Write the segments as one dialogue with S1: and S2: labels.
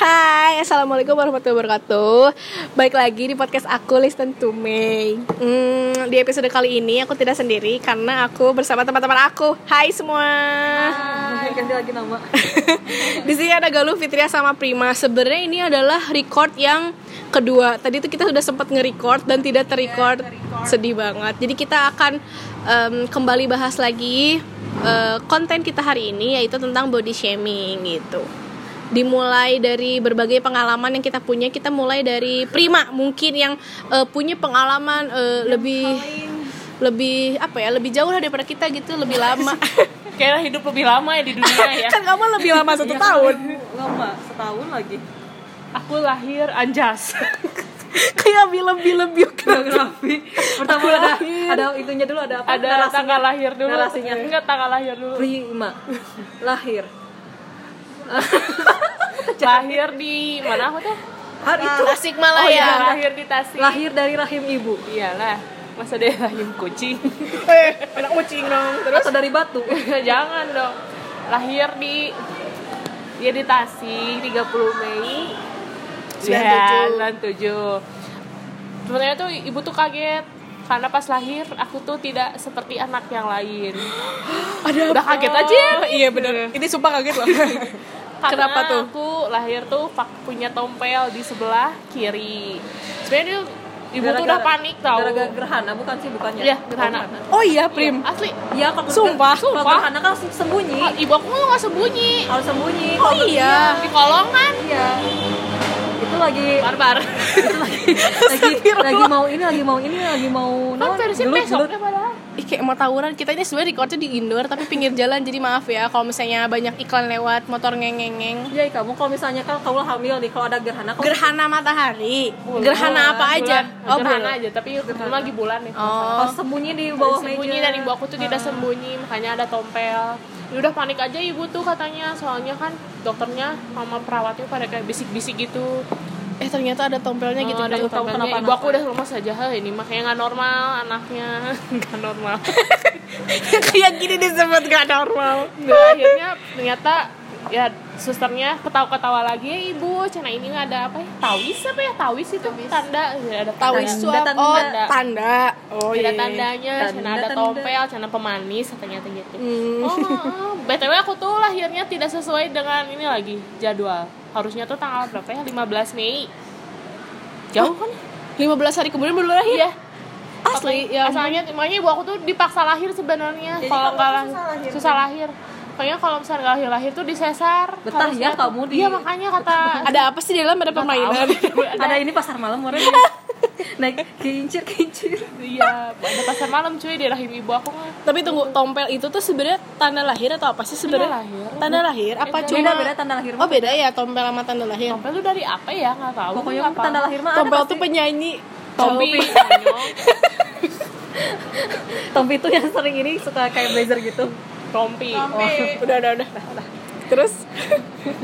S1: Hai, assalamualaikum warahmatullahi wabarakatuh. Baik lagi di podcast aku Listen to Me. Hmm, di episode kali ini aku tidak sendiri karena aku bersama teman-teman aku. Hai semua.
S2: Hai, ganti lagi nama.
S1: di sini ada Galuh Fitria sama Prima. Sebenarnya ini adalah record yang kedua. Tadi itu kita sudah sempat nge-record dan tidak terrecord. Sedih banget. Jadi kita akan em, kembali bahas lagi eh, konten kita hari ini yaitu tentang body shaming gitu. Dimulai dari berbagai pengalaman yang kita punya. Kita mulai dari Prima mungkin yang eh, punya pengalaman eh, lebih lebih apa ya lebih jauh lah daripada kita gitu lebih lama
S3: Kayaknya hidup lebih lama ya di dunia ya.
S1: kan kamu lebih lama satu tahun
S2: Iya. Lama, setahun lagi.
S3: Aku lahir anjas.
S1: kayak gitu. lebih-lebih
S2: Biografi. Pertama ada ada itunya dulu ada apa?
S3: Ada
S2: Narasinya.
S3: tanggal lahir dulu.
S2: Narasinya.
S3: Enggak tanggal lahir dulu.
S2: Prima. Lahir.
S3: Lahir di mana aku tuh?
S2: Hari itu
S1: Tasikmalaya
S3: Oh
S1: ya
S3: iya, lahir di Tasik.
S2: lahir dari rahim ibu
S3: Iyalah. Masa dia lahir kucing?
S1: eh anak kucing dong
S2: atau dari batu.
S3: Jangan dong. Lahir di ya di Tasik 30 Mei
S1: 97.
S3: Ya, 97. Sebenarnya tuh ibu tuh kaget karena pas lahir aku tuh tidak seperti anak yang lain.
S1: ada
S3: Udah kaget aja.
S1: iya bener ini sumpah kaget loh
S3: Karena
S1: Kenapa tuh?
S3: aku lahir tuh fak- punya tompel di sebelah kiri. Sebenarnya dia- ibu tuh udah panik tau.
S2: Gara-gara gerhana bukan sih bukannya.
S3: Iya, gerhana.
S1: oh iya
S3: Iya,
S1: prim
S3: Asli.
S2: Iya, kalau
S1: Sumpah,
S2: kalau
S3: sumpah.
S2: gerhana kan harus sembunyi.
S3: Ah, Ibu aku nggak sembunyi.
S2: Harus sembunyi.
S1: oh iya
S3: Di kolongan.
S2: Iya. Itu lagi
S3: Barbar.
S2: lagi lagi mau ini lagi mau ini lagi mau
S3: Kan versi
S2: gelut, gelut.
S3: besoknya padahal.
S1: Ih, kayak mau tawuran kita ini sebenarnya recordnya di indoor tapi pinggir jalan jadi maaf ya kalau misalnya banyak iklan lewat motor ngengengeng
S2: Jadi kamu Iya, kalau misalnya kan kamu hamil nih kalau ada gerhana kamu
S1: gerhana matahari
S3: Bulan.
S1: Oh, gerhana apa aja
S3: Bulan.
S1: oh
S3: gerhana
S1: bulan.
S3: aja, tapi kebetulan lagi bulan nih.
S1: oh Ah.
S2: harus sembunyi di bawah meja.
S3: sembunyi dan ibu aku tuh tidak sembunyi makanya ada tompel Ya udah panik aja ibu tuh katanya soalnya kan dokternya sama perawatnya pada kayak bisik-bisik gitu
S1: eh ternyata ada tompelnya gitu
S3: Oh, ada
S1: Kak.
S3: tompelnya. ibu aku udah lemas aja "Heh, ini makanya nggak normal anaknya nggak normal
S1: kayak gini disebut gak normal
S3: nah, akhirnya ternyata ya susternya ketawa-ketawa lagi ya ibu cina ini nggak ada apa ya tawis apa ya tawis itu tanda ya, ada
S1: tahu
S3: tanda.
S1: suap
S2: tanda.
S1: oh tanda oh
S3: ada
S1: iya
S3: tandanya,
S2: Tanda,
S3: cina ada
S2: tanda.
S3: tompel, cina pemanis, katanya tuh gitu.
S1: Hmm.
S3: Oh, oh, btw aku tuh lahirnya tidak sesuai dengan ini lagi jadwal. Harusnya tuh tanggal berapa ya? 15 Mei. Jauh kan?
S1: 15 hari kemudian baru lahir
S3: Iya.
S1: asli ya ampun.
S3: Asalnya, makanya ibu aku tuh dipaksa lahir sebenarnya.
S2: Jadi kamu
S3: Kalau nggak
S2: tuh
S3: lah-
S2: susah lahir.
S3: susah lahir. Makanya kalau misalnya nggak lahir-lahir tuh disesar.
S2: Betah ya
S3: Harusnya tuh-
S2: kamu di-
S3: Iya makanya kata.
S1: ada apa sih di dalam ada permainan
S2: ada ini pasar malam orang naik kincir kincir.
S3: Iya, ada pasar malam cuy di rahim ibu aku mah.
S1: Tapi tunggu, tompel itu tuh sebenarnya tanda lahir atau apa sih sebenarnya?
S3: Tanda lahir.
S1: Tanda lahir apa
S3: Eh,
S1: cuma
S2: Beda beda tanda lahir.
S1: Oh, beda ya tompel sama tanda lahir.
S3: Tompel tuh dari apa ya? Nggak tahu.
S2: Pokoknya
S3: apa.
S2: tanda lahir mah ada
S1: Tompel
S2: pasti.
S1: tuh penyanyi.
S3: Tompi.
S1: Tompi.
S3: konyol.
S2: Tompi itu yang sering ini suka kayak blazer gitu.
S3: Tompi.
S1: udah, udah, udah. Terus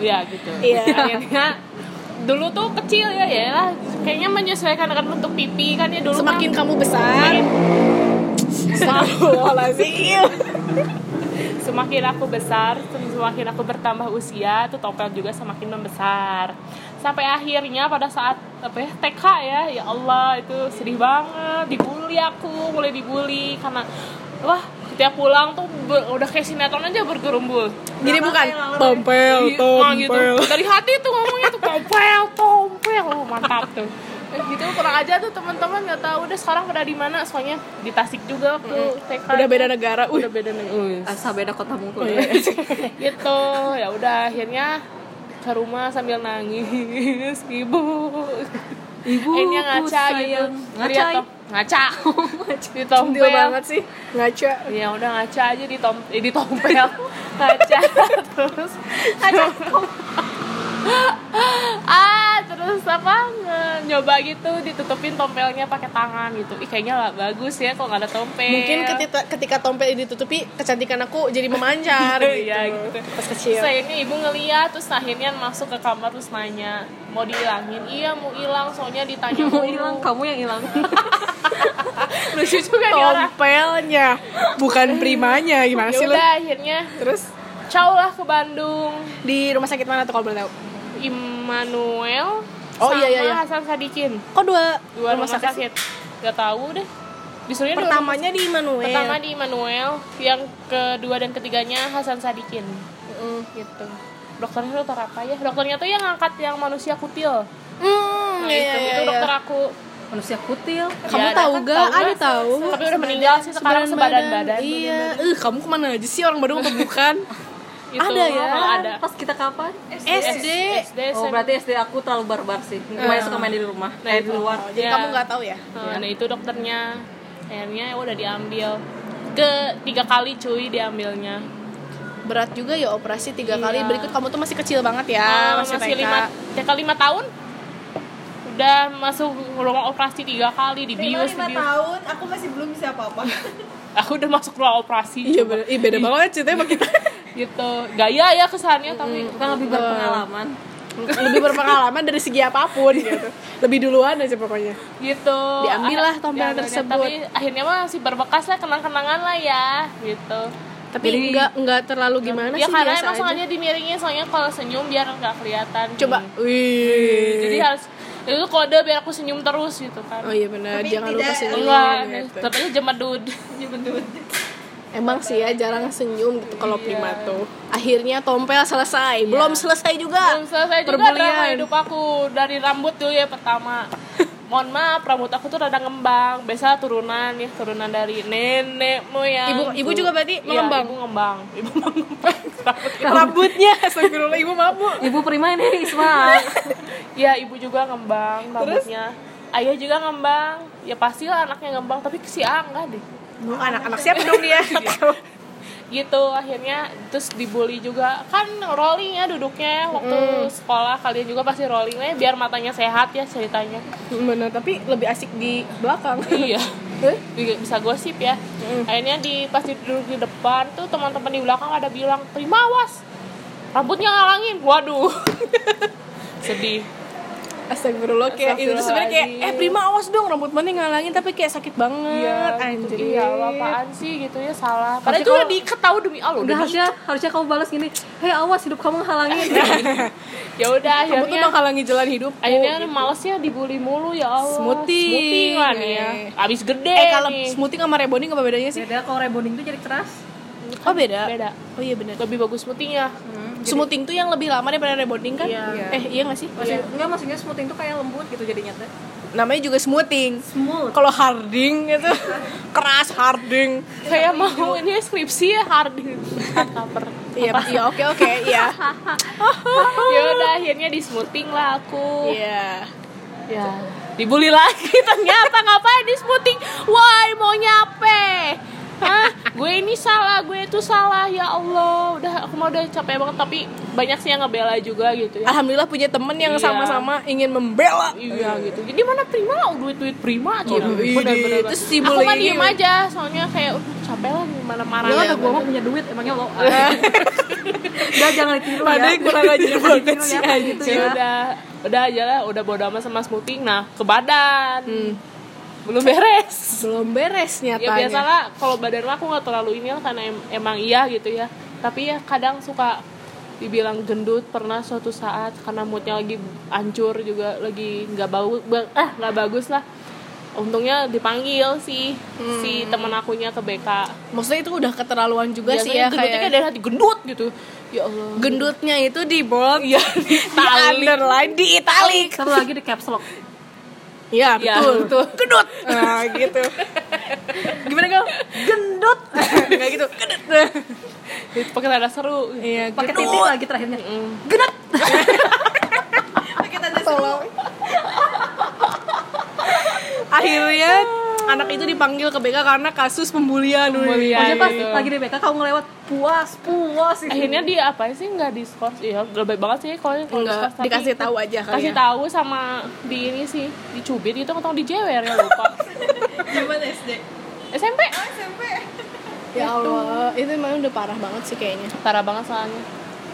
S3: Iya gitu.
S1: Iya.
S3: Akhirnya dulu tuh kecil ya ya lah. Kayaknya menyesuaikan dengan bentuk pipi kan ya dulu.
S1: semakin
S3: mah.
S1: kamu besar, Astagfirullahaladzim.
S3: semakin aku besar, semakin aku bertambah usia, tuh topel juga semakin membesar. Sampai akhirnya pada saat apa ya, TK ya, ya Allah itu sedih banget, dibully aku, mulai dibully karena wah setiap pulang tuh be- udah kayak sinetron aja bergerumbul.
S1: Gini bukan
S2: Tompel,
S1: tompel,
S3: Nah, gitu. Dari hati tuh ngomongnya tuh tompel, tompel. Oh, mantap tuh. Eh, gitu kurang aja tuh teman-teman nggak tahu udah sekarang pada di mana soalnya di Tasik juga waktu TK
S1: Udah beda oh, iya. negara. Udah
S3: udah beda nih
S2: Asa beda kota mungkul.
S3: gitu ya udah akhirnya ke rumah sambil nangis ibu
S2: Ibu
S3: akhirnya ngaca gitu
S2: Ngaca.
S3: Lihat tuh, ngaca di
S1: Centil
S3: tompel
S1: banget sih. Ngaca.
S3: ya udah ngaca aja di tom eh, di tompel ngaca terus
S2: Ngaca.
S3: ah terus apa nge- nyoba gitu ditutupin tompelnya pakai tangan gitu ih kayaknya nggak bagus ya kalau nggak ada tompel
S1: Mungkin ketika, ketika tompel ini ditutupi, kecantikan aku jadi memancar gitu.
S3: Iya, gitu.
S1: Pas kecil.
S3: Terus akhirnya ibu ngeliat, terus akhirnya masuk ke kamar terus nanya mau dihilangin. Iya mau hilang, soalnya ditanya
S2: Mau
S3: mulu.
S2: hilang kamu yang hilang.
S3: Lucu juga nih orang.
S1: Tompelnya, bukan primanya. Gimana
S3: Ya
S1: sih lu?
S3: udah akhirnya
S1: Terus
S3: caw lah ke Bandung.
S1: di rumah sakit mana tuh kalau boleh tahu?
S3: Immanuel
S1: Oh, iya,
S3: sama
S1: iya, iya.
S3: Hasan Sadikin
S1: Kok dua,
S3: dua rumah,
S1: sakit sih?
S3: sakit. Gak tahu deh. Disuruhnya dua rumah
S1: Pertamanya di Immanuel.
S3: Pertama di Immanuel, yang kedua dan ketiganya Hasan Sadikin.
S1: Mm, gitu.
S3: Dokternya dokter apa ya? Dokternya tuh yang ngangkat yang manusia kutil.
S1: Hmm,
S3: Nah,
S1: iya,
S3: itu,
S1: iya,
S3: itu
S1: iya.
S3: dokter aku.
S2: manusia kutil
S1: Kamu
S3: ada
S1: tahu
S3: kan?
S1: gak?
S3: Tahu
S1: Ada
S3: nggak?
S1: tahu.
S3: Tapi udah meninggal sih sekarang sebadan badan.
S1: Oh, Iya. Eh, kamu kemana aja sih orang Badung atau bukan?
S3: Itu,
S1: Ada ya?
S3: oh, ada.
S2: Ah, pas kita kapan
S1: SD.
S3: SD.
S2: oh berarti SD aku terlalu barbar sih gue suka main di rumah
S3: Nah,
S2: eh di luar
S1: Oh, jadi
S3: Iya.
S1: kamu nggak tahu ya?
S3: Nah, nah, itu dokternya. Akhirnya ya udah diambil. Ke tiga kali cuy diambilnya.
S1: Berat juga ya operasi tiga kali.
S3: Iya.
S1: Berikut kamu tuh masih kecil banget ya,
S3: Ah,
S1: masih,
S3: masih
S1: TK.
S3: lima, TK lima tahun udah masuk ruang operasi tiga kali dibius, dibius.
S4: tahun aku masih belum bisa apa-apa
S3: aku udah masuk ruang operasi
S1: Iya bener, Ih, beda banget ceritanya sama kita
S3: gitu gaya ya kesannya tapi
S2: bukan lebih berpengalaman
S1: Lebih berpengalaman dari segi apapun gitu Lebih duluan aja pokoknya
S3: gitu
S1: Diambil lah
S3: Ah,
S1: tombol
S3: diambil,
S1: tersebut.
S3: tapi akhirnya mah masih berbekas lah kenang-kenangan lah ya gitu
S1: Tapi nggak nggak terlalu gimana sih
S3: ya karena
S1: biasa
S3: emang
S1: aja
S3: sengaja dimiringin soalnya kalau senyum biar nggak kelihatan
S1: Coba
S3: Hmm.
S1: Wih
S3: jadi harus ya itu kode biar aku senyum terus gitu kan
S1: Oh iya benar,
S4: Tapi
S1: jangan lupa
S4: tidak-
S1: senyum
S3: Enggak,
S1: gitu.
S3: tapi jemedut
S1: Emang sih ya jarang senyum gitu kalau prima tuh. Akhirnya tompel selesai, Iya. belum selesai juga.
S3: belum selesai juga
S1: Perbulian.
S3: drama hidup aku dari rambut dulu ya pertama mohon maaf rambut aku tuh rada ngembang biasa turunan ya turunan dari nenekmu ya
S1: Ibu ibu juga berarti mengembang.
S3: ibu ngembang ibu mengembang rambut
S1: Rambutnya, astagfirullah ibu mabuk.
S2: ibu prima ini Isma
S3: ya ibu juga ngembang rambutnya ayah juga ngembang ya pastilah anaknya ngembang tapi si angga deh
S1: Lu anak-anak siapa dong dia? Iya.
S3: gitu akhirnya terus dibully juga kan rolling ya duduknya waktu sekolah kalian juga pasti rollingnya biar matanya sehat ya ceritanya
S1: Bener, tapi lebih asik di belakang.
S3: iya
S1: Eh,
S3: Bi- bisa gosip ya
S1: Mm.
S3: akhirnya di pas duduk di depan tuh teman-teman di belakang ada bilang terima awas rambutnya ngalangin waduh sedih
S1: Astagfirullah kayak itu tuh sebenarnya kayak eh prima awas dong rambut mana yang ngalangin tapi kayak sakit banget anjir.
S3: iya apaan sih gitu ya salah
S2: Harusnya
S3: padahal itu udah
S2: kalau-
S3: diikat tahu demi Allah
S2: udah
S3: udah
S2: harusnya harusnya kamu balas gini hei awas hidup kamu ngehalangin
S3: ya udah
S1: Rambut tuh
S3: akhirnya
S1: menghalangi jalan hidup. Eh,
S3: akhirnya
S1: gitu.
S3: malesnya dibully mulu ya Allah
S1: Smoothing.
S3: smoothing kan ya abis gede
S1: Iya. Eh kalau
S3: nih.
S1: smoothing sama rebonding apa bedanya sih?
S2: beda ya kalau rebonding tuh jadi keras
S1: Oh beda.
S3: beda Hmm.
S1: Oh iya benar.
S3: lebih bagus smoothingnya
S1: Smoothing tuh yang lebih lama daripada rebonding kan?
S3: Iya.
S1: Eh iya gak sih?
S2: Maksud, enggak maksudnya smoothing tuh kayak lembut gitu jadinya tuh
S1: Iya. Namanya juga smoothing.
S2: smooth
S1: Kalau harding itu keras harding.
S3: kayak mau ini skripsi ya hard hard cover
S1: Iya, iya oke oke, iya.
S3: ya udah akhirnya di smoothing lah aku
S1: Iya.
S3: ya dibully lagi ternyata ngapain di smoothing why mau nyape Hah? gue ini salah gue itu salah ya Allah udah aku mau udah capek banget tapi banyak sih yang ngebela juga gitu ya
S1: Alhamdulillah punya temen yang
S3: Iya.
S1: sama-sama ingin membela.
S3: iya gitu jadi mana prima duit duit prima
S1: Ih,
S3: aja Bener-bener.
S1: terus
S3: aku
S1: dibully.
S3: mah diem aja soalnya kayak udah capek lah gimana
S2: Lu
S3: marahnya
S2: apa gue mah punya duit emangnya lo Udah jangan ditiru ya
S1: Padahal kurang ajar banget
S2: Ditiru
S1: sih
S2: ya,
S1: anjir.
S2: gitu
S3: Ya
S2: ya
S3: udah udah aja lah udah bodo amat sama smoothing nah ke badan belum beres
S1: Belum beres
S3: ya
S1: nyatanya.
S3: biasalah kalau badan mah aku nggak terlalu ini lah karena em- emang iya gitu ya tapi ya kadang suka dibilang gendut pernah suatu saat karena moodnya lagi hancur juga lagi nggak bau ba- ah nggak bagus lah untungnya dipanggil sih si temen akunya ke BK
S1: Maksudnya itu udah keterlaluan juga sih
S3: biasanya
S1: ya
S3: gendutnya
S1: kayak
S3: kayak dari hati gendut gitu ya Allah
S1: gendutnya itu di bold, ya,
S3: Iya,
S1: di,
S3: italic.
S1: underline, di italic.
S2: Terus lagi di caps lock
S1: Iya,
S3: Iya,
S1: betul. Gendut. Nah, gitu. Gimana kau? Gendut. Kayak gitu. Gendut.
S3: pakai tanda seru
S1: Iya,
S2: pakai
S1: gendut.
S2: titik lagi terakhirnya
S4: pakai tanda seru
S3: Iya.
S1: akhirnya anak itu dipanggil ke BK karena kasus pembulian dulu.
S3: Pembulian.
S2: Maksudnya pas
S3: gitu.
S2: lagi di BK kamu ngelewat puas puas gitu.
S3: akhirnya dia apa sih nggak diskors ya lebih banget sih kalau kalau
S1: Enggak,
S3: diskors, tapi
S1: dikasih tahu aja kali
S3: kasih
S1: ya.
S3: tahu sama di ini sih dicubit itu atau dijewer ya lupa
S4: zaman SD
S3: SMP
S4: SMP
S1: Ya Allah, itu memang udah parah banget sih kayaknya.
S3: parah banget soalnya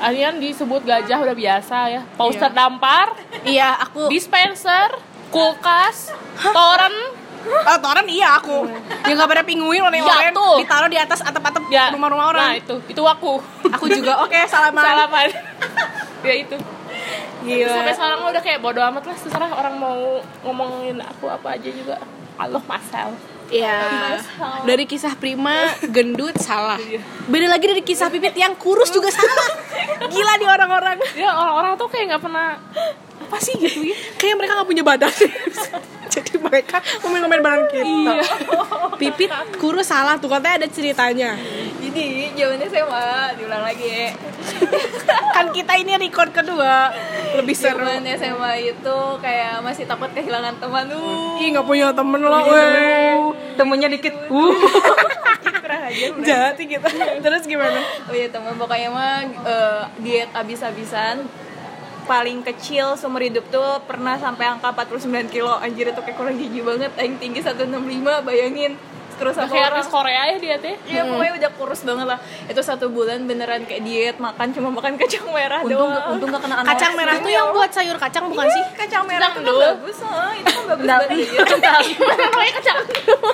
S3: Alian disebut gajah udah biasa ya poster dampar
S1: Iya, aku
S3: dispenser kulkas toren
S1: oh, toren iya aku. Yang nggak pada pinguin warna-warna
S3: Iya, tuh.
S1: ditaruh di atas atap-atap
S3: ya
S1: rumah-rumah orang.
S3: nah itu itu aku
S1: Aku juga oke salaman.
S3: salaman ya itu Tapi
S1: Gila.
S3: sampai sekarang mah udah kayak bodo amat lah terserah orang mau ngomongin aku apa aja juga Allah masal
S1: Iya. Dari kisah Prima gendut salah. Beda lagi dari kisah Pipit yang kurus juga salah. Gila nih orang-orang.
S3: ya orang-orang tuh kayak nggak pernah apa sih gitu ya
S1: Kayak mereka nggak punya badan. Jadi mereka ngomel-ngomel barang kita.
S3: Iya.
S1: Pipit kurus salah tuh katanya ada ceritanya.
S4: Jadi jawabannya SMA diulang lagi.
S1: Kan kita ini record kedua lebih seru.
S4: Zaman SMA itu kayak masih takut kehilangan teman Uh, lu.
S1: Ih nggak punya temen lo, weh.
S2: Temennya dikit. Uh.
S4: Kurang aja.
S1: Jahat sih Iya, kita. Terus gimana?
S4: Oh iya teman pokoknya mah eh, diet abis-abisan paling kecil seumur hidup tuh pernah sampai angka 49 kilo anjir itu kayak kurang gigi banget yang tinggi 165 bayangin terus sama
S3: kayak
S4: orang
S3: artis Korea ya dia teh
S4: Iya pokoknya udah kurus banget lah Itu satu bulan beneran kayak diet Makan cuma makan kacang merah
S2: Untung,
S4: doang
S2: untung gak kena anoreksi.
S1: Kacang merah tuh yang buat sayur kacang bukan sih?
S4: Kacang merah
S3: Sedang
S4: itu kan
S3: dulu.
S4: bagus oh, Itu kan bagus banget iya.
S3: Mana namanya kacang endol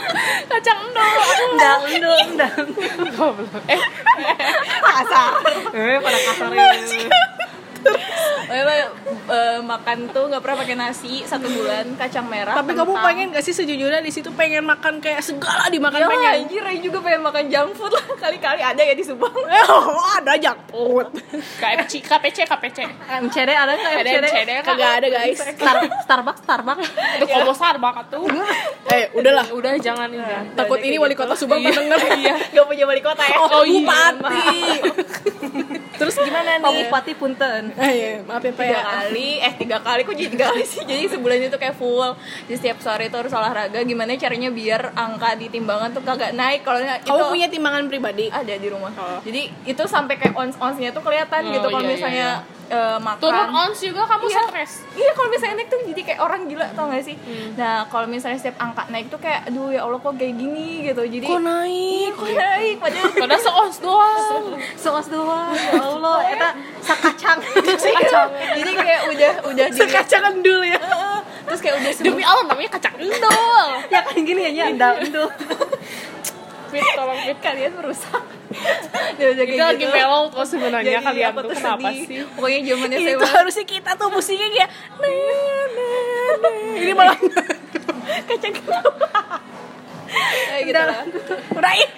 S3: kacang endol
S2: Ndang, ndang, ndang. Eh, pada kasar ya.
S4: Pokoknya mah, Oh, iya, eh, Makan tuh gak pernah pakai nasi Satu bulan kacang merah
S1: Tapi kamu
S4: kentang.
S1: pengen kan gak sih sejujurnya di situ pengen makan kayak segala dimakan
S4: Iya
S1: pengen?
S4: lah, anjir, Ray juga pengen makan junk food lah Kali-kali ada ya di Subang
S1: Oh, ada jackpot.
S3: KFC KPC KPC
S2: MCD ada nggak MCD?
S3: KDNCD
S4: kan?
S1: Kagak ada, guys.
S2: Star- Starbucks, Starbucks.
S3: itu kobo sarbak tuh
S1: Eh, udahlah.
S3: udah jangan Iya. ya
S1: Takut ini wali kota Subang terdengar.
S4: Gak punya wali kota ya
S1: gitu. Iya. Oh,
S3: Oh, iya,
S1: bupati. Terus gimana
S2: Pak
S1: nih?
S2: Bupati Punten.
S1: Eh, iya, maaf ya, Pak.
S4: tiga
S1: ya.
S4: kali eh tiga kali kok jadi tiga kali sih jadi sebulan itu kayak full jadi setiap sore itu harus olahraga gimana caranya biar angka di timbangan tuh kagak naik kalau nggak itu
S1: Kamu punya timbangan pribadi?
S4: ada di rumah jadi itu sampai kayak ons onsnya tuh kelihatan
S3: Oh,
S4: gitu kalau
S3: iya, iya,
S4: misalnya eh, makan
S3: turun ons juga kamu
S4: Iya.
S3: stres
S4: Iya kalau misalnya naik tuh jadi kayak orang gila tau gak sih Nah kalau misalnya setiap angka naik tuh kayak Aduh ya Allah kok kayak gini gitu Jadi
S1: Kok naik?
S4: Ih, kok naik Padahal
S3: padahal seons doang
S2: Soas doang, ya Allah. Eta sakacang.
S4: kacau Jadi kayak udah udah di
S1: Sekacangan dulu ya.
S4: Terus kayak udah
S3: demi Allah namanya kacang endol
S2: ya kan gini ya, ndang, ndang.
S3: Fit tolong Fit
S4: kalian merusak Dia udah kayak
S3: kita lagi
S4: gitu.
S3: mellow kok sebenarnya
S4: Jadi
S3: kalian
S4: Iya, ya, aku
S3: tuh
S4: tuh
S3: kenapa
S4: sedih. Iya,
S3: sih
S4: Pokoknya zamannya saya
S1: Itu harusnya kita tuh musiknya kayak "Nah, na, na, na. nah." Ini malah
S4: kacang keluar. Ya, gitu lah.
S1: udah ih.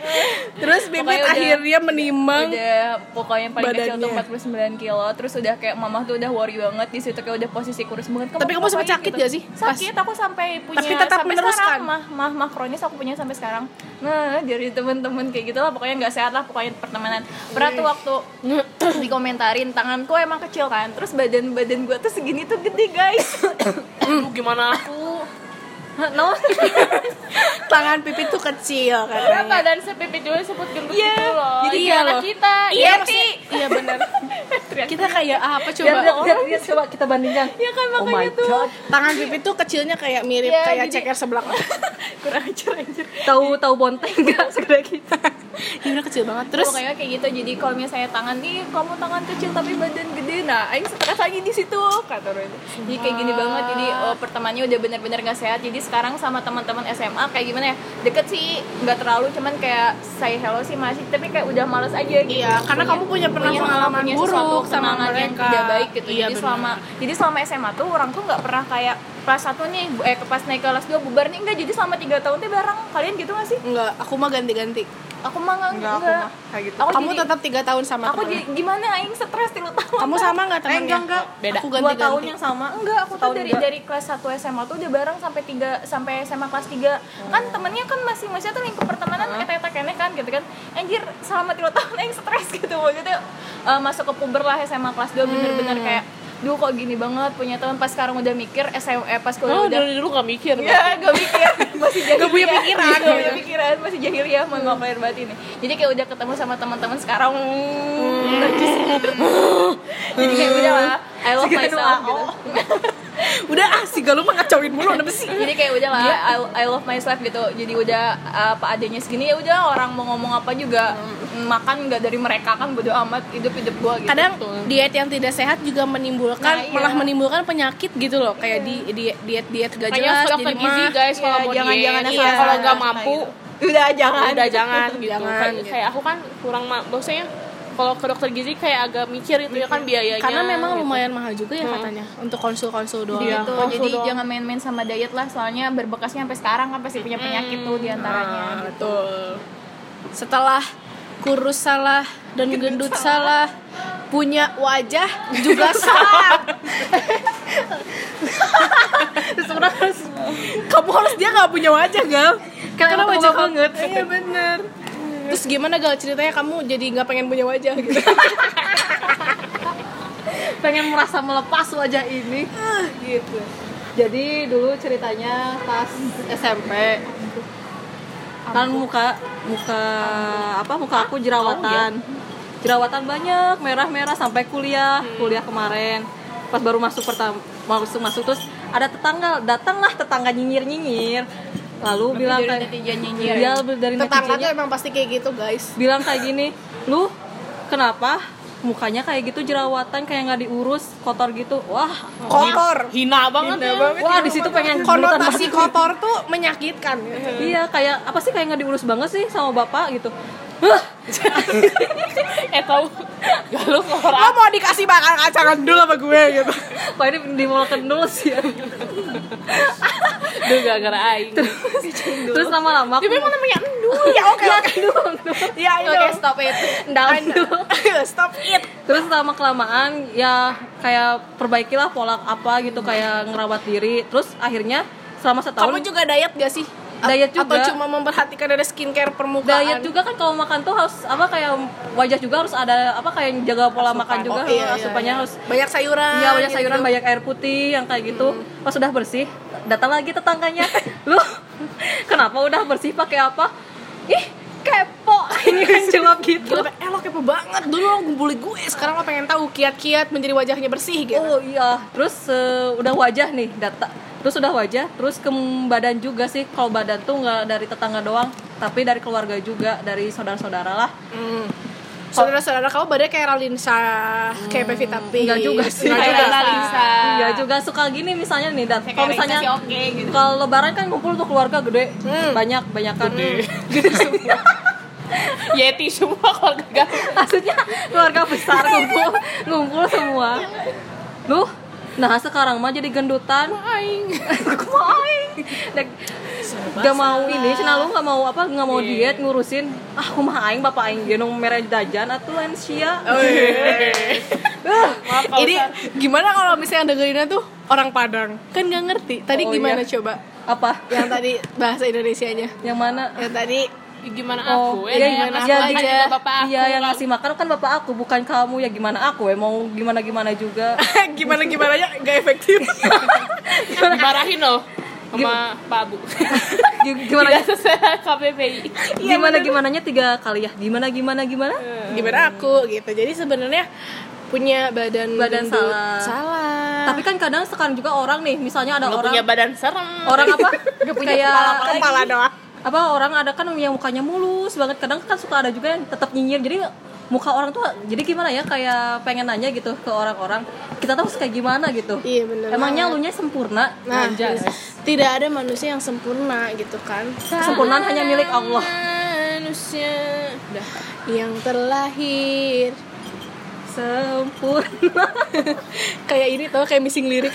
S1: Terus Bibit
S4: Pokoknya udah-
S1: akhirnya menimbang
S4: Udah pokoknya yang paling kecil tuh
S1: Badannya.
S4: 49 kilo, terus udah kayak mamah tuh udah worry banget di situ kayak udah posisi kurus banget.
S1: Tapi kamu sempat
S4: ngapain gitu?
S1: sakit gak sih? Pas-
S4: Sakit, aku sampai punya
S1: Tapi tetap
S4: sampai
S1: meneruskan.
S4: sekarang mah mah mah kronis aku punya sampai sekarang. Nah, dari temen-temen kayak gitu lah pokoknya nggak sehat lah pokoknya pertemanan. Pernah tuh waktu dikomentarin tanganku emang kecil kan, terus badan-badan gua tuh segini tuh gede, guys.
S3: Aduh, gimana aku
S2: No,
S1: tangan Pipit tuh kecil kan?
S3: Karena
S1: katanya.
S3: badan sepipit juga disebut gendut gitu loh
S1: jadi
S3: Itu
S1: iya
S3: anak
S1: loh.
S3: kita
S1: Iya,
S3: Ti.
S1: maksudnya- Ya, iya benar. kita kayak
S4: ah,
S1: apa coba?
S2: lihat, lihat, lihat, lihat, coba kita bandingkan.
S4: ya kan
S2: Oh my
S4: makanya tuh
S2: god.
S1: Oh, Tangan Pipit tuh kecilnya kayak mirip
S4: Iya,
S1: kayak
S4: jadi-
S1: ceker sebelah.
S4: kurang ajar anjir.
S2: Tahu tahu bonteng enggak segera kita.
S1: Iya bener, kecil banget.
S4: Terus
S1: Terus
S4: kayak kayak gitu. Jadi kalau misalnya tangan nih kamu tangan kecil tapi badan gede. Nah, aing stres lagi di situ kata Roy. Jadi kayak gini banget. Jadi oh, pertemanannya udah benar-benar gak sehat. Jadi sekarang sama teman-teman SMA kayak gimana ya? Deket sih, nggak terlalu cuman kayak say hello sih masih tapi kayak udah males aja gitu.
S1: Iya, karena kamu punya pernah pengalaman
S4: punya sesuatu
S1: buruk sama
S4: kenangan yang
S1: mereka.
S4: tidak baik gitu.
S1: Iya,
S4: jadi
S1: benar.
S4: selama jadi selama SMA tuh orang tuh nggak pernah kayak kelas satu nih bu- eh pas naik kelas 2 bubar nih enggak jadi selama tiga tahun tuh bareng kalian gitu gak sih?
S1: enggak, aku mah ganti-ganti.
S4: Aku mah nggak-
S2: Nggak, aku
S4: nggak.
S2: mah kayak gitu.
S4: Aku
S1: Kamu
S4: jadi-
S1: tetap tiga tahun sama
S4: aku
S1: temen.
S4: jadi- gimana ya, aing stres tilu tahun
S1: Kamu sama nggak temennya? Oh,
S2: enggak, enggak.
S1: Beda. Aku
S2: Dua tahun
S1: ganti-ganti.
S2: yang sama.
S4: enggak aku tuh
S2: Setahun
S4: dari
S2: juga.
S4: dari kelas 1 SMA tuh udah bareng sampai 3 sampai SMA kelas 3 kan temennya kan masih masih tuh lingkup pertemanan eta eta kene kan gitu kan anjir selama 3 tahun aing stres gitu maksudnya eh, masuk ke puber lah SMA kelas 2 bener-bener kayak duh kok gini banget punya teman pas sekarang udah mikir SMA eh, pas kuliah
S3: Oh,
S4: udah
S3: dari dulu gak mikir
S4: Ya, gak mikir, masih jahiliyah.
S1: Gak punya pikiran. gitu.
S4: Gak punya pikiran, masih jahiliyah mau ngapain banget ini. Jadi kayak udah ketemu sama teman-teman sekarang.
S1: Hmm.
S4: najis. Jadi kayak udah lah, I love
S2: Segala
S4: myself
S2: doa.
S4: gitu.
S1: Udah ah, si Galuh mah ngacauin mulu udah besi.
S4: Jadi kayak udah lah, I, I love myself gitu. Jadi udah apa adanya segini ya udah orang mau ngomong apa juga makan nggak dari mereka kan bodo amat hidup hidup gua gitu.
S1: Hmm. Kadang diet yang tidak sehat juga menimbulkan
S4: Nah, iya.
S1: malah menimbulkan penyakit gitu loh, kayak di, di- diet-diet gak
S3: Makanya harus
S1: jelas
S3: dokter
S1: jadi
S3: gizi
S1: mah.
S3: guys kalau
S4: Iya,
S3: mau
S4: jangan-
S3: diet.
S4: jangan
S3: Iya,
S4: asal-asalan.
S3: kalau nggak mampu
S4: udah jangan.
S3: udah jangan gitu.
S1: Jangan,
S3: kayak,
S1: gitu.
S3: kayak aku kan kurang ma maksudnya kalau ke dokter gizi kayak agak mikir itu ya kan biayanya
S1: Karena memang
S3: gitu.
S1: lumayan mahal juga ya katanya untuk konsul-konsul doang.
S3: Iya.
S4: gitu.
S3: langsung
S4: Jadi
S3: dong.
S4: jangan main-main sama diet lah, soalnya berbekasnya sampai sekarang kan pasti
S1: Hmm.
S4: punya penyakit tuh diantaranya.
S3: Nah,
S4: gitu.
S3: betul
S1: Setelah kurus salah dan gendut salah, punya wajah juga salah. Terus orang harus, kamu harus dia nggak punya wajah gal. Karena
S4: kamu
S1: wajah
S4: nggak
S1: kamu Iya bener. Terus gimana gal ceritanya kamu jadi nggak pengen punya wajah gitu?
S5: pengen merasa melepas wajah ini gitu jadi dulu ceritanya pas SMP kan muka muka apa muka aku jerawatan jerawatan banyak merah-merah sampai kuliah kuliah kemarin pas baru masuk pertama masuk masuk terus ada tetangga datanglah tetangga nyinyir nyinyir lalu bilang
S4: Jadi
S5: kayak
S4: netizen nyinyir.
S5: dia dari
S1: Tetangga
S5: netizennya
S1: tuh emang pasti kayak gitu guys.
S5: bilang kayak gini lu kenapa mukanya kayak gitu jerawatan kayak nggak diurus kotor gitu wah
S1: Oh, Kotor.
S3: hina banget ya
S5: wah di situ
S1: Iya,
S5: pengen gemetan banget.
S1: Konotasi kotor tuh menyakitkan.
S5: iya kayak apa sih kayak nggak diurus banget sih sama bapak gitu Hah,
S3: eh tahu galuh keluar
S1: Lo mau dikasih bakar kacang dulu sama gue gitu.
S5: Wah ini di mall kendul sih
S1: Iya,
S5: ya.
S3: aduh gara-gara aing
S5: Terus lama-lama aku
S1: Emang namanya endul ya oke oke. Ya
S4: Oke,
S1: endul.
S4: stop itu.
S5: down dulu.
S1: Stop it.
S5: gitu. Terus lama kelamaan ya kayak perbaikilah pola apa gitu kayak ngerawat diri. Terus akhirnya selama setahun
S1: Kamu juga diet gak sih? A-
S5: Diet
S1: Atau
S5: juga.
S1: cuma memperhatikan dari skincare permukaan?
S5: diet juga kan kalau makan tuh harus apa kayak wajah juga harus ada apa kayak jaga pola makan juga
S1: Oh, iya, iya,
S5: asupannya harus
S1: Banyak sayuran.
S5: iya banyak
S1: gitu.
S5: sayuran banyak air putih yang kayak gitu pas udah bersih datang lagi tetangganya lu kenapa udah bersih pakai apa ih kepo ini kan jawab gitu
S1: Gila, eh lo kepo banget dulu lo ngumpulin gue sekarang lo pengen tahu kiat-kiat menjadi wajahnya bersih gitu
S5: oh iya terus eh, udah wajah nih data terus udah wajah terus ke badan juga sih kalau badan tuh nggak dari tetangga doang tapi dari keluarga juga dari saudara-saudara lah
S1: saudara-saudara kamu badannya kayak Raline Shah kayak Pevita Pearce
S5: Enggak juga sih.
S1: Enggak
S4: Kayak
S1: juga.
S4: analisa.
S5: Iya juga suka gini misalnya nih dan kalau
S4: Analisa
S5: misalnya
S4: sih oke gitu.
S5: kalau lebaran kan ngumpul tuh keluarga gede banyak banyak kan
S3: yeti semua keluarga galuh
S5: maksudnya keluarga besar ngumpul ngumpul semua lu nah sekarang mah jadi gendutan aing aing Dan- gak mau ini cina lu gak mau apa gak mau diet ngurusin ah kumaha aing bapak aing genung merah dajan atuh lain sia
S1: Oh, iya, ini gimana kalau misalnya dengerinnya tuh orang Padang kan nggak ngerti tadi
S5: Oh,
S1: gimana
S5: iya.
S1: coba
S5: apa
S1: yang tadi bahasa Indonesianya
S5: yang mana
S1: yang tadi
S3: gimana
S5: Oh,
S3: aku
S5: iya,
S3: ya,
S5: gimana
S3: aku
S5: aku
S3: kan
S5: aja.
S3: juga bapak aku
S5: Iya yang ngasih makan kan bapak aku bukan kamu ya gimana aku ya mau gimana gimana juga
S1: gimana gimana ya nggak efektif
S3: dimarahin loh sama Pak Abu Iya,
S5: gimana
S3: tidak sesuai KPPI
S5: gimana gimananya tiga kali ya gimana gimana gimana
S1: gimana aku gitu jadi sebenarnya punya badan
S5: Badan
S1: gendut.
S5: salah.
S1: salah
S5: tapi kan kadang sekarang juga orang nih misalnya ada
S3: nggak
S5: orang
S3: punya badan serem
S5: orang apa kayak
S1: kepala
S3: gitu.
S1: doang
S5: apa orang ada kan yang mukanya mulus banget kadang kan suka ada juga yang tetap nyinyir jadi muka orang tuh jadi gimana ya kayak pengen nanya gitu ke orang-orang kita tuh harus kayak gimana gitu
S1: Iya, bener
S5: emangnya lu nya sempurna
S1: nah
S5: Anjay.
S1: terus, tidak ada manusia yang sempurna gitu kan
S5: kesempurnaan hanya milik Allah
S1: manusia yang terlahir
S5: sempurna
S1: kayak ini tau kayak missing lirik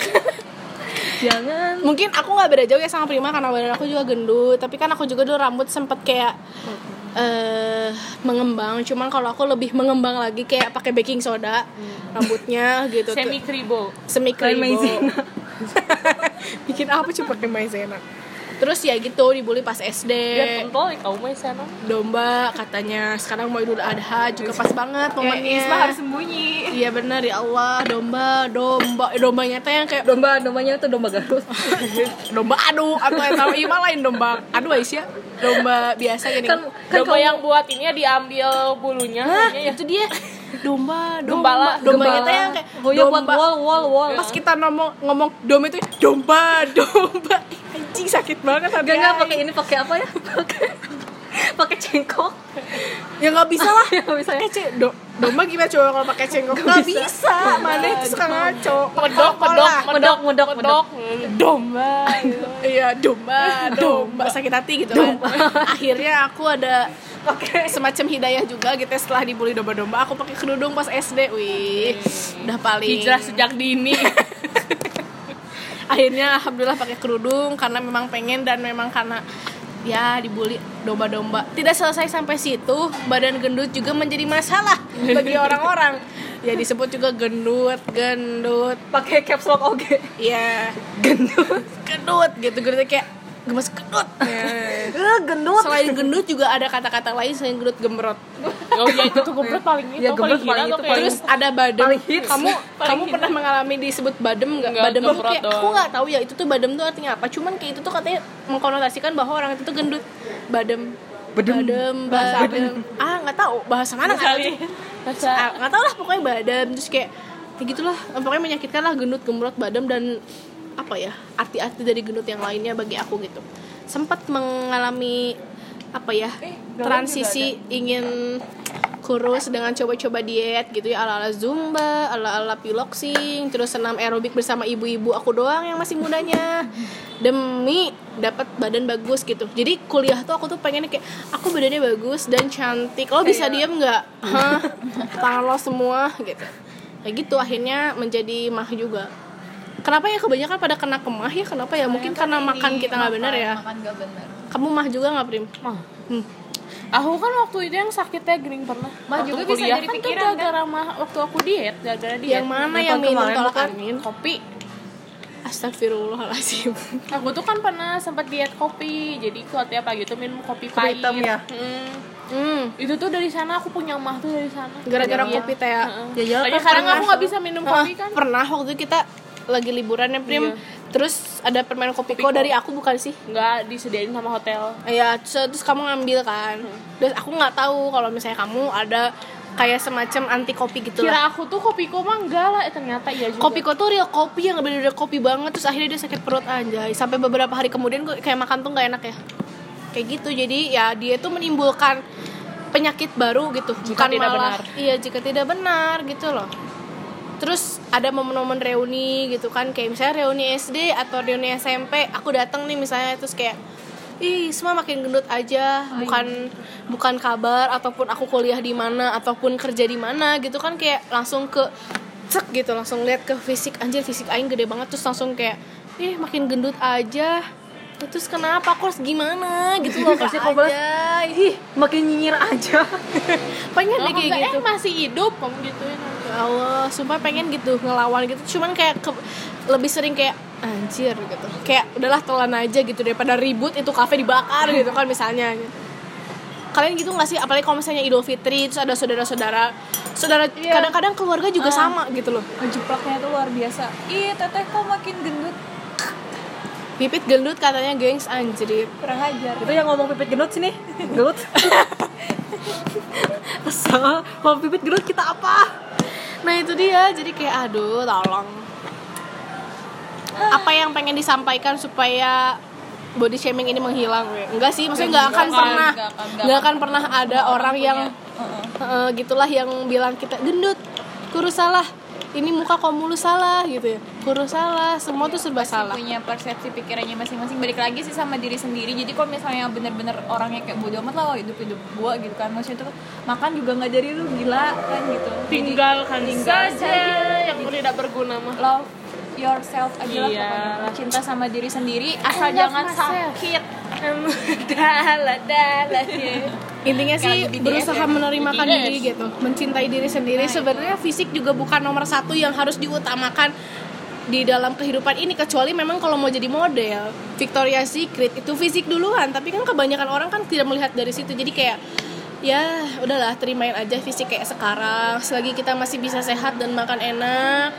S5: jangan
S1: mungkin aku nggak beda jauh ya sama Prima karena badan aku juga gendut tapi kan aku juga dulu rambut sempet kayak eh mengembang cuman kalau aku lebih mengembang lagi kayak pakai baking soda rambutnya gitu tuh.
S3: semi kribo
S1: semi
S5: Kayak
S1: kribo
S5: maizena.
S1: bikin apa coba pakai maizena terus ya gitu dibully pas SD
S3: biar kontol ya kamu ya sana
S1: domba katanya sekarang mau Idul Adha juga pas banget
S3: Ya, iya,
S1: momennya
S4: Isma harus sembunyi.
S1: iya bener ya Allah domba domba eh, dombanya tuh yang kayak
S5: domba dombanya itu domba garut
S1: domba adu atau yang tahu Ima lain domba adu Aisyah domba biasa gini
S5: kan kan
S3: domba yang buat ini ya diambil bulunya kayaknya ya
S1: itu dia domba Ah,
S3: Gembala.
S1: domba dombanya tuh yang kayak
S5: oh iya buat wall wall wall
S1: pas kita ngomong ngomong dom itu domba domba anjing sakit banget hati
S5: Gak nggak
S1: Ai.
S5: pakai ini pakai apa ya? Pakai pakai cengkok.
S1: ya nggak bisa lah
S5: Nggak bisa ya?
S1: pakai ce- do- domba gimana coba kalau pakai cengkok nggak bisa, mana itu suka ngaco
S3: medok medok
S1: Kolah.
S3: medok
S5: Medok, medok,
S3: medok domba gitu.
S1: iya domba domba sakit hati gitu kan akhirnya aku ada semacam hidayah juga gitu ya, setelah dibully domba-domba aku pakai kerudung pas SD wih udah paling
S3: Hijrah sejak dini.
S1: akhirnya alhamdulillah pakai kerudung karena memang pengen dan memang karena ya dibully domba-domba tidak selesai sampai situ badan gendut juga menjadi masalah bagi orang-orang ya disebut juga gendut gendut
S5: pakai caps lock oke
S1: ya gendut gendut gitu gendut kayak gemes gendut ya.
S5: Eh, gendut
S1: selain gendut juga ada kata-kata lain selain gendut gemrot
S3: Oh iya itu tuh gembrot paling itu
S2: Iya,
S3: paling
S2: gembrot
S3: hina
S2: paling
S3: tuh
S2: itu,
S3: kayak
S1: terus ada badem
S5: Paling hits.
S1: kamu kamu pernah mengalami disebut badem nggak
S3: Nggak,
S1: badem tuh
S3: gemrot
S1: kayak
S3: doang.
S1: aku nggak tahu ya itu tuh badem tuh artinya apa cuman kayak itu tuh katanya mengkonotasikan bahwa orang itu tuh gendut badem badem badem, ah nggak tahu bahasa mana nggak tahu.
S3: Baca.
S1: Ah, nggak tahu lah pokoknya badem terus kayak kayak gitulah pokoknya menyakitkan lah gendut gemrot badem dan apa ya arti-arti dari gendut yang lainnya bagi aku gitu sempat mengalami apa ya transisi ingin kurus dengan coba-coba diet gitu ya ala-ala zumba, ala-ala piloxing, terus senam aerobik bersama ibu-ibu aku doang yang masih mudanya demi dapat badan bagus gitu. Jadi kuliah tuh aku tuh pengennya kayak aku badannya bagus dan cantik. Lo bisa diem nggak? Hah? Tangan lo semua gitu. Kayak gitu akhirnya menjadi mah juga. Kenapa ya kebanyakan pada kena kemah ya? Kenapa ya? Mungkin karena makan kita nggak benar ya.
S4: makan gak bener
S1: Kamu mah juga nggak prim?
S3: Mah.
S1: Hmm.
S3: Aku kan waktu itu yang sakitnya gering pernah.
S4: Mah
S3: Waktu
S4: juga bisa
S3: kuliah
S4: jadi
S3: kan tuh
S4: pikiran,
S3: gara-gara mah waktu aku diet, gara-gara diet.
S1: Yang mana yang minum
S5: kemarin
S1: tolak
S5: makan.
S1: angin?
S3: Kopi.
S1: Astagfirullahaladzim.
S3: Aku tuh kan pernah sempat diet kopi. Jadi kalau tiap pagi tuh minum kopi pahit.
S5: hitam ya?
S3: Mm.
S1: Hmm.
S3: Itu tuh dari sana aku punya mah tuh dari sana.
S1: gara-gara
S3: Iya.
S1: kopi teh ya.
S3: Heeh.
S5: Ya, iyalah,
S3: Soalnya
S5: kan
S3: sekarang
S5: pernah.
S3: aku nggak bisa minum kopi
S1: Ah,
S3: kan. Iya.
S1: Pernah waktu itu kita lagi liburan ya Prim. Terus ada permen kopiko
S3: Kopiko.
S1: dari aku bukan sih?
S3: Nggak disediain sama hotel.
S1: Ya, terus terus kamu ngambil kan. Terus aku nggak tahu kalau misalnya kamu ada kayak semacam anti kopi gitu lah.
S3: Kira aku tuh kopi mah enggak lah, eh, ternyata iya juga.
S1: Kopiko tuh real kopi yang bener-bener kopi banget terus akhirnya dia sakit perut anjay. Sampai beberapa hari kemudian gue kayak makan tuh nggak enak ya. Kayak gitu. Jadi ya dia tuh menimbulkan penyakit baru gitu,
S3: Jika
S1: bukan
S3: tidak
S1: malah
S3: benar.
S1: iya jika tidak benar gitu loh. terus ada momen-momen reuni gitu kan kayak misalnya reuni SD atau reuni SMP aku datang nih misalnya terus kayak ih semua makin gendut aja bukan bukan kabar ataupun aku kuliah di mana ataupun kerja di mana gitu kan kayak langsung ke cek gitu langsung lihat ke fisik anjir fisik aing gede banget terus langsung kayak ih makin gendut aja terus kenapa aku harus gimana gitu loh
S5: Terus
S1: Kak
S5: aku balas,
S1: Ajay.
S5: ih makin nyinyir aja
S1: pengen
S3: Oh,
S1: deh kayak
S3: enggak,
S1: gitu
S3: eh, masih hidup kamu gituin.
S1: Ya Allah, sumpah pengen gitu ngelawan gitu. Cuman kayak ke- lebih sering kayak anjir gitu. Kayak udahlah telan aja gitu daripada ribut itu kafe dibakar gitu kan misalnya. Kalian gitu nggak sih? Apalagi kalau misalnya Idul Fitri terus ada saudara-saudara, saudara
S3: Iya.
S1: kadang-kadang keluarga juga
S3: Ah.
S1: sama gitu loh.
S4: jeplaknya tuh luar biasa ih teteh kok makin gendut
S1: Pipit gendut katanya gengs anjrit.
S4: kurang ajar
S5: itu yang ngomong pipit gendut sini gendut kesel mau pipit gendut kita apa
S1: Nah itu dia, jadi kayak aduh tolong Apa yang pengen disampaikan supaya body shaming ini menghilang we? Enggak sih, maksudnya nggak akan pernah
S4: nggak akan, nggak
S1: Nggak akan pernah ada orang yang Heeh, Gitulah yang bilang kita gendut, kurus salah Ini muka kok mulu salah gitu ya Kurus salah, semua tuh serba salah
S4: punya persepsi pikirannya masing-masing balik lagi sih sama diri sendiri jadi kalau misalnya bener-bener orangnya kayak bodo amat lah "Oh, hidup hidup gua gitu kan maksudnya tuh makan juga nggak jadi lu gila kan gitu Jadi,
S3: Tinggalkan
S4: tinggal
S3: saja yang tidak berguna mah.
S4: love yourself aja lah
S3: Iya.
S4: pokoknya. cinta sama diri sendiri asal
S3: love
S4: jangan
S3: myself.
S4: sakit dalah dalah ya
S1: Intinya sih
S4: Kayak BTS
S1: berusaha
S4: ya.
S1: menerimakan
S3: BTS.
S1: diri gitu Mencintai diri sendiri Sebenarnya fisik juga bukan nomor satu yang harus diutamakan di dalam kehidupan ini kecuali memang kalau mau jadi model Victoria's Secret itu fisik duluan tapi kan kebanyakan orang kan tidak melihat dari situ jadi kayak ya udahlah terimain aja fisik kayak sekarang selagi kita masih bisa sehat dan makan enak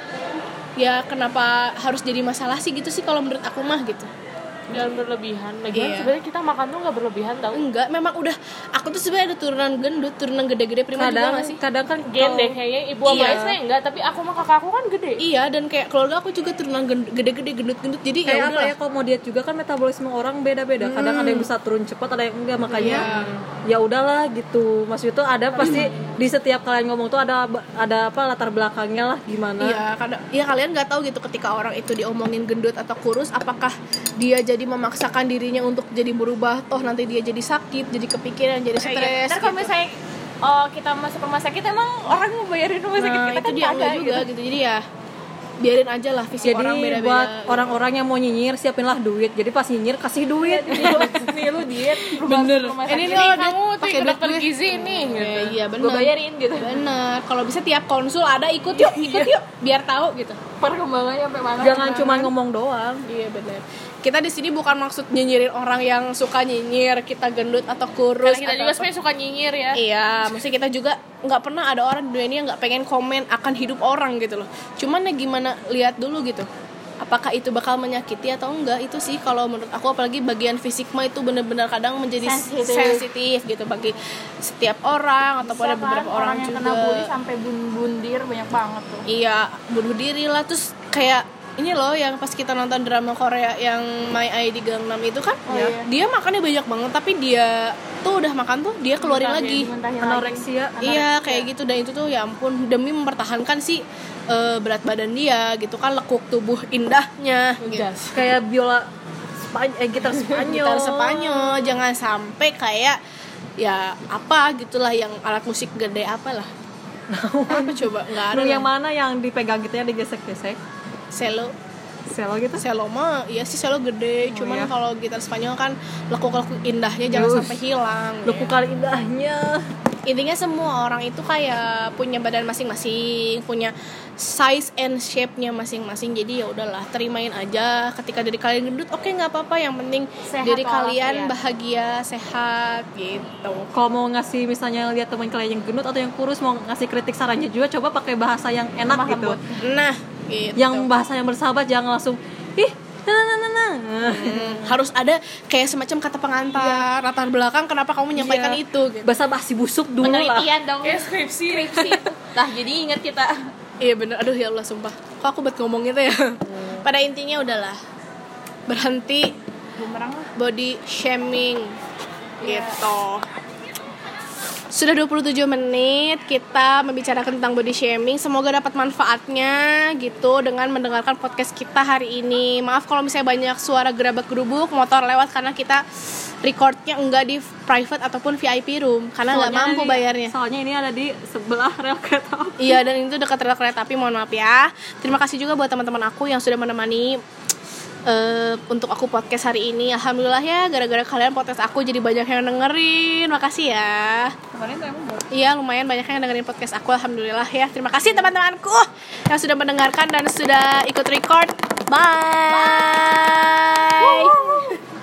S1: ya kenapa harus jadi masalah sih gitu sih kalau menurut aku mah gitu
S3: Jangan berlebihan. Lagian
S1: Iya.
S3: sebenarnya kita makan tuh nggak berlebihan tau.
S1: enggak memang udah aku tuh sebenarnya ada turunan gendut turunan gede-gede prima juga
S5: kadang
S1: gak sih
S5: kadang kan
S3: Gen
S5: kalau-
S3: deh kayaknya ibu sama
S1: Iya.
S3: saya enggak, tapi aku sama kakakku kan gede.
S1: Iya dan kayak keluarga aku juga turunan gen- gede-gede gendut-gendut jadi ya
S5: kayak apa
S1: udahlah.
S5: ya Hmm. kalau mau diet juga kan metabolisme orang beda-beda kadang ada yang bisa turun cepat ada yang enggak makanya ya udahlah gitu maksud itu ada pasti di setiap kalian ngomong tuh ada ada apa latar belakangnya lah gimana
S1: Iya, kadang, ya kalian nggak tahu gitu ketika orang itu diomongin gendut atau kurus, apakah dia jadi jadi memaksakan dirinya untuk jadi berubah toh nanti dia jadi sakit jadi kepikiran jadi
S4: Iya,
S1: stres gitu.
S4: ntar kalau misalnya oh, kita masuk rumah sakit emang orang mau bayarin rumah sakit
S1: nah
S4: kita
S1: itu dia
S4: kan nggak
S1: enggak
S4: ada
S1: juga gitu. jadi ya biarin aja lah fisik
S5: Jadi
S1: orang beda-beda
S5: buat orang-orang yang mau nyinyir siapinlah duit. Jadi pas nyinyir kasih duit.
S4: nih lu diet rumah, rumah sakit
S3: ini nih kamu tuh
S1: pakai
S3: ke
S1: duit
S3: dokter
S1: gue.
S3: gizi nih
S1: Ya,
S3: gitu.
S1: iya
S4: gue
S1: benar
S4: bayarin gitu
S1: benar kalau bisa tiap konsul ada ikut yuk ikut yuk biar tahu gitu
S4: perkembangannya sampai mana
S5: Jangan cuma ngomong doang.
S1: Iya benar. Kita di sini bukan maksud nyinyirin orang yang suka nyinyir, kita gendut atau kurus.
S3: Karena kita
S1: atau
S3: juga
S1: apa.
S3: sebenarnya suka nyinyir ya.
S1: Iya, mesti kita juga nggak pernah ada orang di dunia ini yang nggak pengen komen akan hidup orang gitu loh. Cuman ya gimana lihat dulu gitu. Apakah itu bakal menyakiti atau enggak itu sih kalau menurut aku apalagi bagian fisik mah itu benar-benar kadang menjadi sensitif. gitu bagi setiap orang ataupun ada
S4: Siapa
S1: beberapa orang,
S4: kan orang yang
S1: juga.
S4: kena bully sampai bun bundir banyak banget tuh
S1: Iya, bunuh diri lah terus kayak ini loh yang pas kita nonton drama Korea yang My ID Gangnam itu kan
S4: iya.
S1: dia makannya banyak banget tapi dia tuh udah makan tuh dia keluarin lagi
S4: Dimuntahin lagi.
S5: Anoreksia.
S1: iya kayak gitu dan itu tuh ya ampun demi mempertahankan si eh, berat badan dia gitu kan lekuk tubuh indahnya gitu.
S5: Kayak biola Span- eh, gitar Spanyol.
S1: gitar Spanyol jangan sampai kayak ya apa gitulah yang alat musik gede apalah apa coba nggak ada
S5: Aduh, yang
S1: lah.
S5: mana yang dipegang gitu ya digesek-gesek?
S1: selo
S5: Selo gitu.
S1: Selo mah iya sih selo gede, cuman
S5: iya.
S1: kalau gitar Spanyol kan lekuk-lekuk indahnya jangan
S5: Yus.
S1: sampai hilang. iya.
S5: Lekuk kali indahnya.
S1: Intinya semua orang itu kayak punya badan masing-masing, punya size and shape-nya masing-masing. Jadi ya udahlah, terimain aja ketika dari kalian gendut, oke nggak apa-apa, yang penting
S4: Sehat
S1: dari
S4: walafiat.
S1: kalian bahagia, sehat gitu.
S5: Kalau mau ngasih misalnya lihat teman kalian yang gendut atau yang kurus mau ngasih kritik sarannya juga coba pakai bahasa yang enak gitu.
S1: Nah, gitu.
S5: Yang bahasa yang bersahabat jangan langsung ih nah nah nah, nah."
S1: Hmm, harus ada kayak semacam kata pengantar, latar belakang kenapa kamu menyampaikan
S5: Iya.
S1: itu gitu.
S5: Bahasa basi busuk dulu
S1: ya.
S5: lah.
S4: penelitian dong
S3: Kayak skripsi.
S4: nah jadi ingat kita
S1: Iya bener, aduh ya Allah sumpah Kok aku buat ngomong itu ya Pada intinya udahlah Berhenti
S4: bumerang lah
S1: body shaming Gitu Sudah 27 menit kita membicarakan tentang body shaming Semoga dapat manfaatnya gitu Dengan mendengarkan podcast kita hari ini Maaf kalau misalnya banyak suara gerabak gerubuk Motor lewat karena kita recordnya enggak di private ataupun VIP room Karena nggak
S5: Soalnya
S1: mampu
S5: ini-
S1: bayarnya
S5: Soalnya ini ada di sebelah rel kereta api.
S1: Iya dan itu dekat rel kereta api mohon maaf ya. Terima kasih juga buat teman-teman aku yang sudah menemani eh, untuk aku podcast hari ini. Alhamdulillah ya gara-gara kalian podcast aku jadi banyak yang dengerin. Makasih ya.
S2: kemarin tuh emang baru
S1: Iya lumayan banyak yang dengerin podcast aku alhamdulillah ya. Terima kasih teman-temanku yang sudah mendengarkan dan sudah ikut record. Bye.